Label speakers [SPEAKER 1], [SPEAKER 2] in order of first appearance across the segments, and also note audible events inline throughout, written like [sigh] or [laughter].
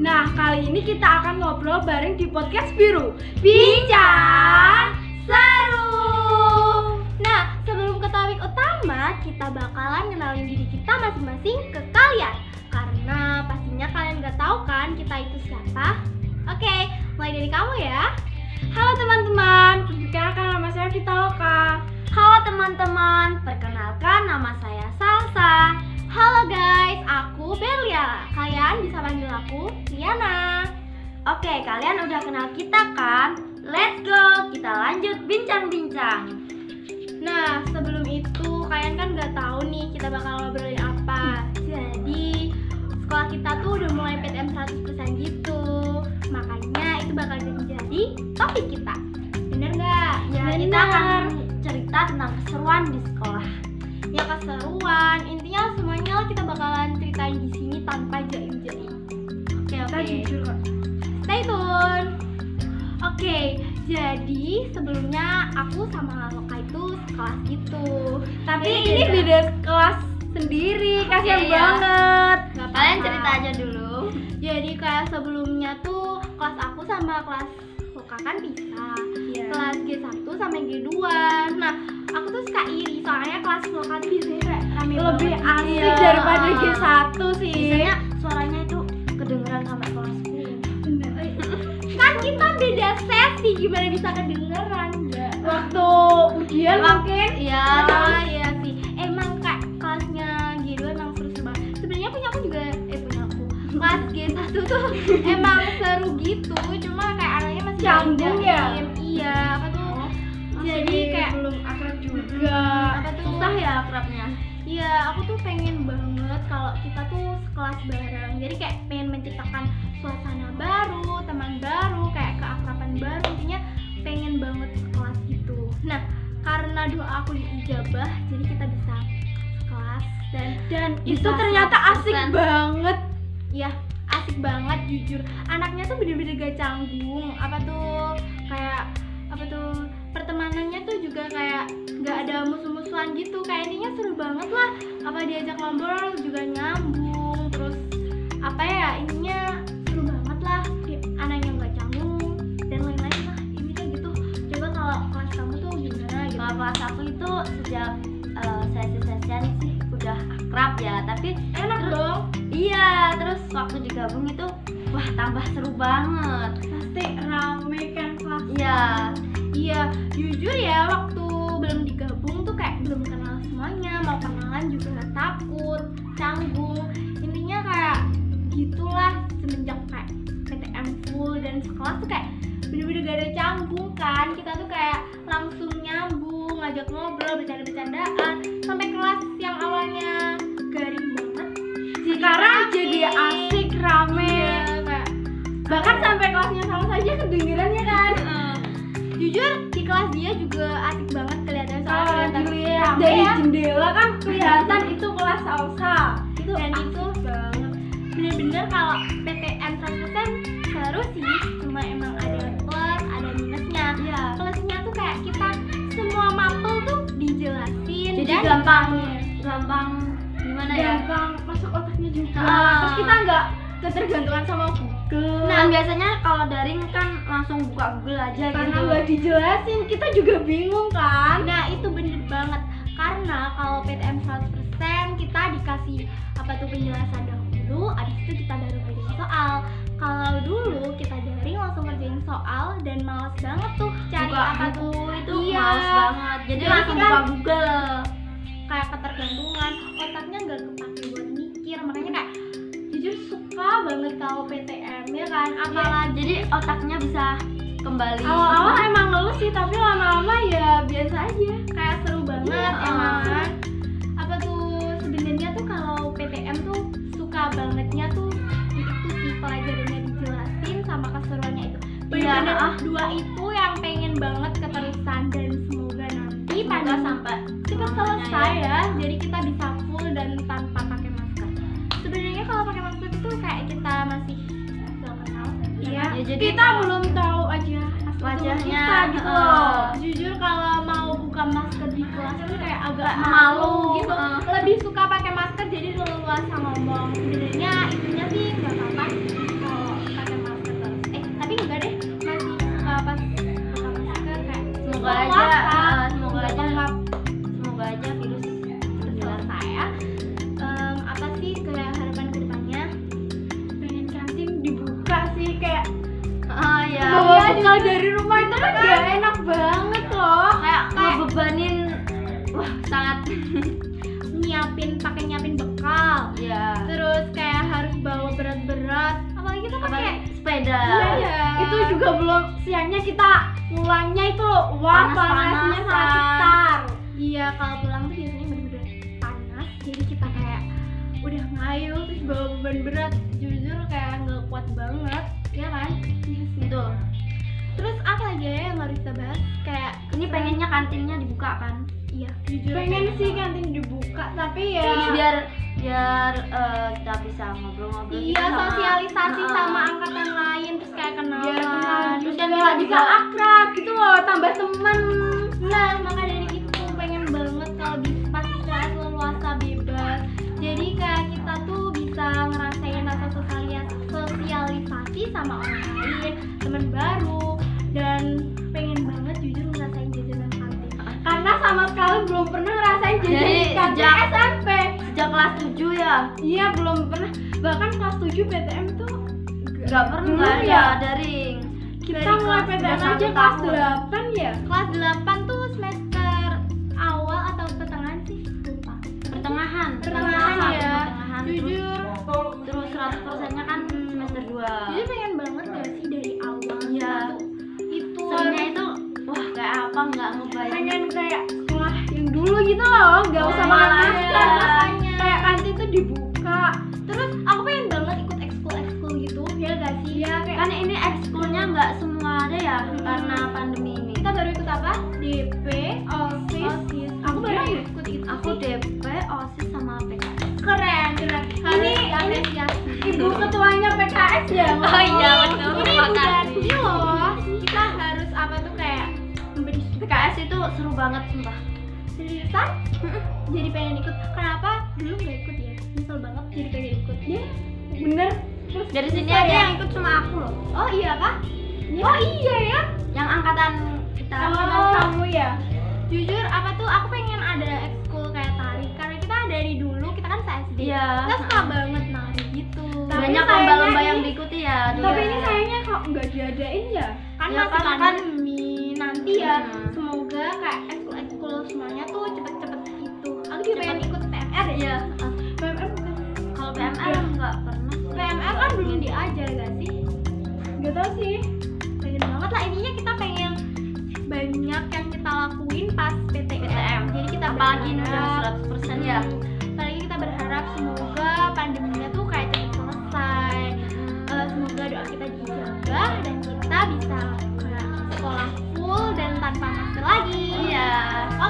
[SPEAKER 1] Nah, Kali ini kita akan ngobrol bareng di podcast biru Bincang Seru
[SPEAKER 2] Nah, sebelum ke topik utama, kita bakalan kenalin diri kita masing-masing ke kalian. Karena pastinya kalian nggak tahu kan kita itu siapa. Oke, mulai dari kamu ya.
[SPEAKER 1] Halo teman-teman, perkenalkan nama saya Vita Loka
[SPEAKER 2] Halo teman-teman, perkenalkan nama saya Salsa. Halo guys, aku Belia. Kalian bisa panggil aku Liana. Oke, kalian udah kenal kita kan? Let's go, kita lanjut bincang-bincang. Nah, sebelum itu kalian kan nggak tahu nih kita bakal ngobrolin apa. Jadi sekolah kita tuh udah mulai PTM 100% gitu. Makanya itu bakal menjadi topik kita. Bener nggak? Ya, kita
[SPEAKER 1] Bener.
[SPEAKER 2] akan cerita tentang keseruan di sekolah. Ya keseruan, intinya semuanya kita bakalan ceritain di sini tanpa jaim-jaim. Oke, oke.
[SPEAKER 1] Kita jujur kok
[SPEAKER 2] Stay tune. Oke, jadi sebelumnya aku sama Loka itu sekelas gitu.
[SPEAKER 1] Tapi ini beda kelas sendiri, kasihan
[SPEAKER 2] Iya.
[SPEAKER 1] banget
[SPEAKER 2] Kalian cerita aja
[SPEAKER 1] Iya.
[SPEAKER 2] dulu. Jadi kayak sebelumnya tuh kelas aku sama kelas Loka kan pisah.
[SPEAKER 1] Iya.
[SPEAKER 2] Kelas G1 sama G2. Nah, aku tuh suka iri soalnya kelas Loka tuh biasanya kayak rame
[SPEAKER 1] Lebih
[SPEAKER 2] banget.
[SPEAKER 1] asik
[SPEAKER 2] Iya.
[SPEAKER 1] daripada G1 sih
[SPEAKER 2] Biasanya suaranya itu kedengeran sama kelasku. Iya.
[SPEAKER 1] Bener.
[SPEAKER 2] Kan kita beda sesi, gimana bisa kedengeran? Ya.
[SPEAKER 1] Waktu ujian mungkin
[SPEAKER 2] Iya,
[SPEAKER 1] Terus-
[SPEAKER 2] iya sih. Emang kayak kelasnya G2 emang seru seru banget. Sebenarnya punya aku juga eh punya aku. Kelas G1 tuh emang seru gitu, cuma kayak anaknya masih
[SPEAKER 1] Canggung
[SPEAKER 2] banyak
[SPEAKER 1] ya?
[SPEAKER 2] yang- Iya, apa tuh? Oh,
[SPEAKER 1] Jadi kayak belum akrab juga
[SPEAKER 2] Apa tuh?
[SPEAKER 1] ya akrabnya
[SPEAKER 2] Iya, aku tuh pengen banget kalau kita tuh sekelas bareng. Jadi kayak pengen menciptakan suasana baru, teman baru, kayak keakraban baru. Intinya pengen banget sekelas gitu. Nah, karena doa aku diijabah, jadi kita bisa sekelas dan
[SPEAKER 1] Dan
[SPEAKER 2] Bisa
[SPEAKER 1] itu ternyata asik
[SPEAKER 2] 100%.
[SPEAKER 1] banget
[SPEAKER 2] ya asik banget jujur. Anaknya tuh bener-bener gak canggung. Apa tuh kayak apa tuh pertemanannya tuh juga kayak nggak ada musuh-musuhan gitu kayak intinya seru banget lah apa diajak ngobrol juga nyambung terus apa ya intinya seru banget lah Di- anaknya nggak canggung dan lain-lain lah intinya gitu coba kalau kelas kamu tuh gimana gitu
[SPEAKER 3] Kalau kelas aku itu sejak eh, sesi-sesian sih udah akrab ya, tapi
[SPEAKER 2] enak dong
[SPEAKER 3] iya terus waktu digabung itu wah tambah seru banget.
[SPEAKER 2] pasti rame kan kelas
[SPEAKER 3] Iya,
[SPEAKER 2] Iya, jujur ya waktu belum digabung tuh kayak belum kenal semuanya, mau kenalan juga takut, canggung. Intinya kayak gitulah semenjak kayak PTM full dan sekolah tuh kayak bener-bener gak ada canggung kan kita tuh kayak langsung nyambung ngajak ngobrol bercanda-bercandaan sampai kelas yang awalnya garing banget
[SPEAKER 1] Sekarang
[SPEAKER 2] rame.
[SPEAKER 1] jadi asik, rame
[SPEAKER 2] Iya, kayak
[SPEAKER 1] Bahkan sampai kelasnya sama saja kedengeran ya kan
[SPEAKER 2] jujur di kelas dia juga asik banget kelihatan soalnya
[SPEAKER 1] Kalau
[SPEAKER 2] kelihatan
[SPEAKER 1] dilihat
[SPEAKER 2] rame
[SPEAKER 1] dari
[SPEAKER 2] ya.
[SPEAKER 1] jendela kan kelihatan itu kelas salsa Itu
[SPEAKER 2] dan
[SPEAKER 1] asik
[SPEAKER 2] itu
[SPEAKER 1] banget
[SPEAKER 2] bener-bener kalau PTN 100% seru sih cuma emang ada plus ada minusnya
[SPEAKER 3] iya.
[SPEAKER 2] plusnya tuh kayak kita semua mapel tuh dijelasin
[SPEAKER 3] Jadi
[SPEAKER 2] dan
[SPEAKER 3] gampang, gampang gimana ya?
[SPEAKER 1] Gampang masuk otaknya juga
[SPEAKER 3] Ah.
[SPEAKER 1] Terus kita nggak ketergantungan sama Google
[SPEAKER 3] Nah biasanya kalau daring kan langsung buka Google aja
[SPEAKER 1] Karena
[SPEAKER 3] gitu.
[SPEAKER 1] nggak dijelasin, kita juga bingung kan
[SPEAKER 2] nah itu bener banget karena kalau PTN 100% kita dikasih apa tuh penjelasan dahulu abis itu kita baru kerjain soal kalau dulu kita daring langsung kerjain soal dan males banget tuh cari
[SPEAKER 3] buka
[SPEAKER 2] apa tuh
[SPEAKER 3] buku itu
[SPEAKER 2] Iya.
[SPEAKER 3] males banget. Jadi Iya.
[SPEAKER 2] Jadi
[SPEAKER 3] langsung
[SPEAKER 2] kan-
[SPEAKER 3] buka Google.
[SPEAKER 2] kayak ketergantungan otaknya nggak kepake buat mikir makanya kayak jujur suka banget kalau PTM ya kan
[SPEAKER 3] Iya.
[SPEAKER 2] apalagi
[SPEAKER 3] Malah jadi otaknya bisa kembali.
[SPEAKER 1] Awal-awal emang ngeluh sih, tapi lama-lama ya biasa aja
[SPEAKER 2] kayak seru banget
[SPEAKER 3] Iya.
[SPEAKER 2] emang apa tuh sebenarnya tuh kalau PTM tuh suka bangetnya tuh itu sih pelajarannya dijelasin sama keseruannya itu benar-benar
[SPEAKER 3] ah.
[SPEAKER 2] dua itu yang pengen banget keterusan dan semoga nanti pada
[SPEAKER 3] Semoga sampai
[SPEAKER 2] cepat selesai ya jadi kita bisa full dan tanpa pakai masker sebenarnya kalau pakai masker itu kayak kita masih nggak kenal
[SPEAKER 1] Iya,
[SPEAKER 3] Ya, jadi-
[SPEAKER 1] kita belum tahu aja asal
[SPEAKER 3] Wajahnya,
[SPEAKER 1] kita gitu
[SPEAKER 3] eh.
[SPEAKER 1] loh.
[SPEAKER 2] jujur kalau mau buka masker di kelas tuh kayak agak
[SPEAKER 3] malu,
[SPEAKER 2] malu gitu
[SPEAKER 3] eh.
[SPEAKER 2] lebih suka pakai masker Eh, jadi leluasa ngomong sebenarnya intinya sih nggak apa-apa sih kalau pakai
[SPEAKER 3] Iya.
[SPEAKER 2] Ya,
[SPEAKER 1] tinggal dari rumah itu kan gak enak banget loh
[SPEAKER 2] kayak kayak
[SPEAKER 1] ngebebanin wah sangat
[SPEAKER 2] nyiapin pakai nyiapin bekal
[SPEAKER 1] ya
[SPEAKER 2] terus kayak harus bawa berat-berat apalagi kita pakai
[SPEAKER 3] sepeda
[SPEAKER 1] Iya. itu juga belum siangnya kita pulangnya itu wah panasnya
[SPEAKER 3] Panas-panasan.
[SPEAKER 1] sangat cetar
[SPEAKER 2] iya kalau pulang tuh biasanya bener-bener panas jadi kita kayak udah ngayuh terus bawa beban berat jujur kayak nggak kuat banget ya kan iya gitu terus apa lagi ya yang harus kita bahas kayak
[SPEAKER 3] ini pengennya kantinnya dibuka kan
[SPEAKER 2] iya jujur
[SPEAKER 1] pengen
[SPEAKER 2] kayak
[SPEAKER 1] sih
[SPEAKER 3] gitu.
[SPEAKER 2] banget.
[SPEAKER 1] kantin dibuka tapi ya
[SPEAKER 3] Jadi biar biar eh, kita bisa ngobrol-ngobrol gitu
[SPEAKER 2] Iya,
[SPEAKER 3] sama-
[SPEAKER 2] sosialisasi
[SPEAKER 3] Heeh.
[SPEAKER 2] sama angkatan lain terus kayak Iya, kenalan.
[SPEAKER 1] biar kenal
[SPEAKER 3] terus
[SPEAKER 1] juga,
[SPEAKER 3] kan kita
[SPEAKER 1] bisa
[SPEAKER 3] juga-
[SPEAKER 1] akrab gitu loh tambah teman
[SPEAKER 2] Nah, maka dari itu pengen banget kalau di tempat istirahat leluasa bebas. Jadi kayak kita tuh bisa ngerasain rasa sosialis- sosialisasi sama orang lain, teman baru dan pengen banget jujur ngerasain jajanan
[SPEAKER 3] [laughs]
[SPEAKER 2] kantin.
[SPEAKER 1] karena sama sekali belum pernah ngerasain jajan
[SPEAKER 3] Jadi
[SPEAKER 1] di kantin
[SPEAKER 3] sejak-
[SPEAKER 1] SMP
[SPEAKER 3] sejak kelas 7 ya
[SPEAKER 1] iya belum pernah bahkan kelas 7 PTM tuh
[SPEAKER 3] nggak pernah
[SPEAKER 1] Belum
[SPEAKER 3] ada
[SPEAKER 1] ya.
[SPEAKER 3] daring
[SPEAKER 1] kita
[SPEAKER 3] Dari
[SPEAKER 1] mulai
[SPEAKER 3] kelas
[SPEAKER 1] PTM
[SPEAKER 3] udah
[SPEAKER 1] aja
[SPEAKER 3] satu
[SPEAKER 1] kelas
[SPEAKER 3] tahun.
[SPEAKER 1] 8 ya
[SPEAKER 2] Kelas 8 tuh semester awal atau pertengahan sih? Lupa.
[SPEAKER 3] pertengahan
[SPEAKER 2] Pertengahan
[SPEAKER 3] kelas
[SPEAKER 2] ya.
[SPEAKER 3] pertengahan terus
[SPEAKER 2] Jujur,
[SPEAKER 3] terus 100 persennya kan semester 2
[SPEAKER 2] jadi pengen banget gak sih dari awal
[SPEAKER 3] Iya.
[SPEAKER 2] kita tuh itu
[SPEAKER 3] soalnya itu wah kayak apa nggak ngebayang
[SPEAKER 1] pengen kayak sekolah yang dulu gitu loh nggak usah
[SPEAKER 3] Sekolah
[SPEAKER 1] makan
[SPEAKER 2] iya.
[SPEAKER 3] ya.
[SPEAKER 1] kayak kantin tuh dibuka
[SPEAKER 2] terus aku pengen banget ikut ekskul ekskul gitu ya gak sih ya kayak
[SPEAKER 3] kan ini ekskulnya nggak semua ada ya karena pandemi ini
[SPEAKER 2] kita baru ikut apa
[SPEAKER 1] DP osis
[SPEAKER 2] osis
[SPEAKER 1] aku baru
[SPEAKER 2] ikut itu
[SPEAKER 3] aku DP osis sama PKS
[SPEAKER 1] keren keren ini ini
[SPEAKER 2] ya
[SPEAKER 1] ibu [laughs] ketuanya PKS ya
[SPEAKER 3] oh iya betul
[SPEAKER 2] ini bukan ini loh kita harus apa tuh kayak memberi
[SPEAKER 3] PKS itu seru banget sumpah
[SPEAKER 2] seriusan jadi pengen ikut kenapa dulu nggak ikut ya nyesel banget jadi pengen ikut ya
[SPEAKER 1] bener
[SPEAKER 3] dari sini
[SPEAKER 1] Susah
[SPEAKER 3] aja
[SPEAKER 1] ya?
[SPEAKER 3] yang Iya. ikut cuma aku loh
[SPEAKER 2] oh iya kah
[SPEAKER 1] oh iya ya
[SPEAKER 3] yang angkatan kita
[SPEAKER 1] oh, kamu ya
[SPEAKER 2] jujur apa tuh aku pengen ada ekskul kayak tari karena kita dari dulu kita kan se SD
[SPEAKER 3] Iya.
[SPEAKER 2] kita suka banget nari gitu
[SPEAKER 1] Tapi
[SPEAKER 3] banyak
[SPEAKER 1] sayangnya
[SPEAKER 3] lomba-lomba yang
[SPEAKER 1] ini-
[SPEAKER 3] diikuti ya dulu.
[SPEAKER 1] tapi ini sayangnya kok nggak diadain ya
[SPEAKER 2] kan
[SPEAKER 3] Ya,
[SPEAKER 2] masih
[SPEAKER 3] kan-
[SPEAKER 2] pandemi nanti ya
[SPEAKER 3] Hmm.
[SPEAKER 2] semoga kayak ekskul ekskul semuanya tuh cepet-cepet gitu aku juga
[SPEAKER 3] Cepet.
[SPEAKER 2] pengen ikut PMR ya
[SPEAKER 3] iya
[SPEAKER 1] PMR eh, bukan
[SPEAKER 3] kalau PMR nggak pernah
[SPEAKER 2] PMR kan belum diajar gak sih
[SPEAKER 1] nggak tahu sih
[SPEAKER 2] pengen banget lah intinya kita pengen banyak yang kita lakuin pas PTM,
[SPEAKER 3] PTM.
[SPEAKER 2] jadi kita
[SPEAKER 3] apalagi ini udah
[SPEAKER 2] berharap
[SPEAKER 3] 100%
[SPEAKER 2] ya
[SPEAKER 3] ya
[SPEAKER 2] apalagi kita berharap semoga pandeminya tuh kayak cepet selesai
[SPEAKER 3] Hmm.
[SPEAKER 2] Eh, semoga doa kita dijaga dan kita bisa kayak sekolah full dan tanpa masker lagi
[SPEAKER 3] iya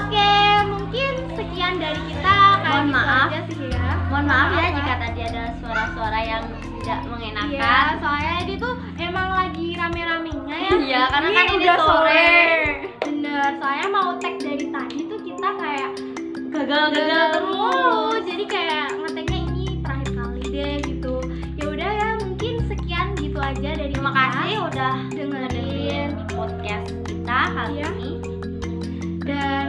[SPEAKER 2] Oke, mungkin sekian dari kita. Kayak
[SPEAKER 3] Mohon
[SPEAKER 2] gitu
[SPEAKER 3] maaf.
[SPEAKER 2] aja sih ya.
[SPEAKER 3] mohon maaf ya
[SPEAKER 2] Maaf,
[SPEAKER 3] jika tadi ada soara-suara yang tidak mengenakan
[SPEAKER 2] Iya, soalnya ini tuh emang lagi rame-ramenya ya.
[SPEAKER 3] Iya, karena kan ini
[SPEAKER 2] udah
[SPEAKER 3] sore.
[SPEAKER 2] Bener, soalnya mau tag dari tadi tuh kita kayak
[SPEAKER 3] gagal gagal
[SPEAKER 2] gagal
[SPEAKER 3] terus
[SPEAKER 2] terus. Jadi kayak ngeteknya ini terakhir kali deh gitu. Ya udah ya, mungkin sekian gitu aja dari
[SPEAKER 3] terima kasih udah
[SPEAKER 2] dengerin
[SPEAKER 3] podcast kita kali
[SPEAKER 2] Iya.
[SPEAKER 3] ini
[SPEAKER 2] dan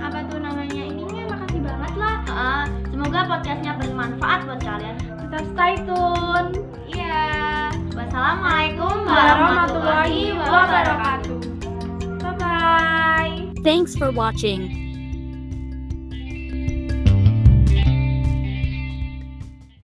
[SPEAKER 2] apa tuh namanya ininya makasih banget lah.
[SPEAKER 3] Uh, semoga podcastnya bermanfaat buat kalian
[SPEAKER 1] tetap stay tune
[SPEAKER 2] Iya.
[SPEAKER 3] wassalamualaikum
[SPEAKER 1] warahmatullahi wabarakatuh bye bye
[SPEAKER 4] Thanks for watching.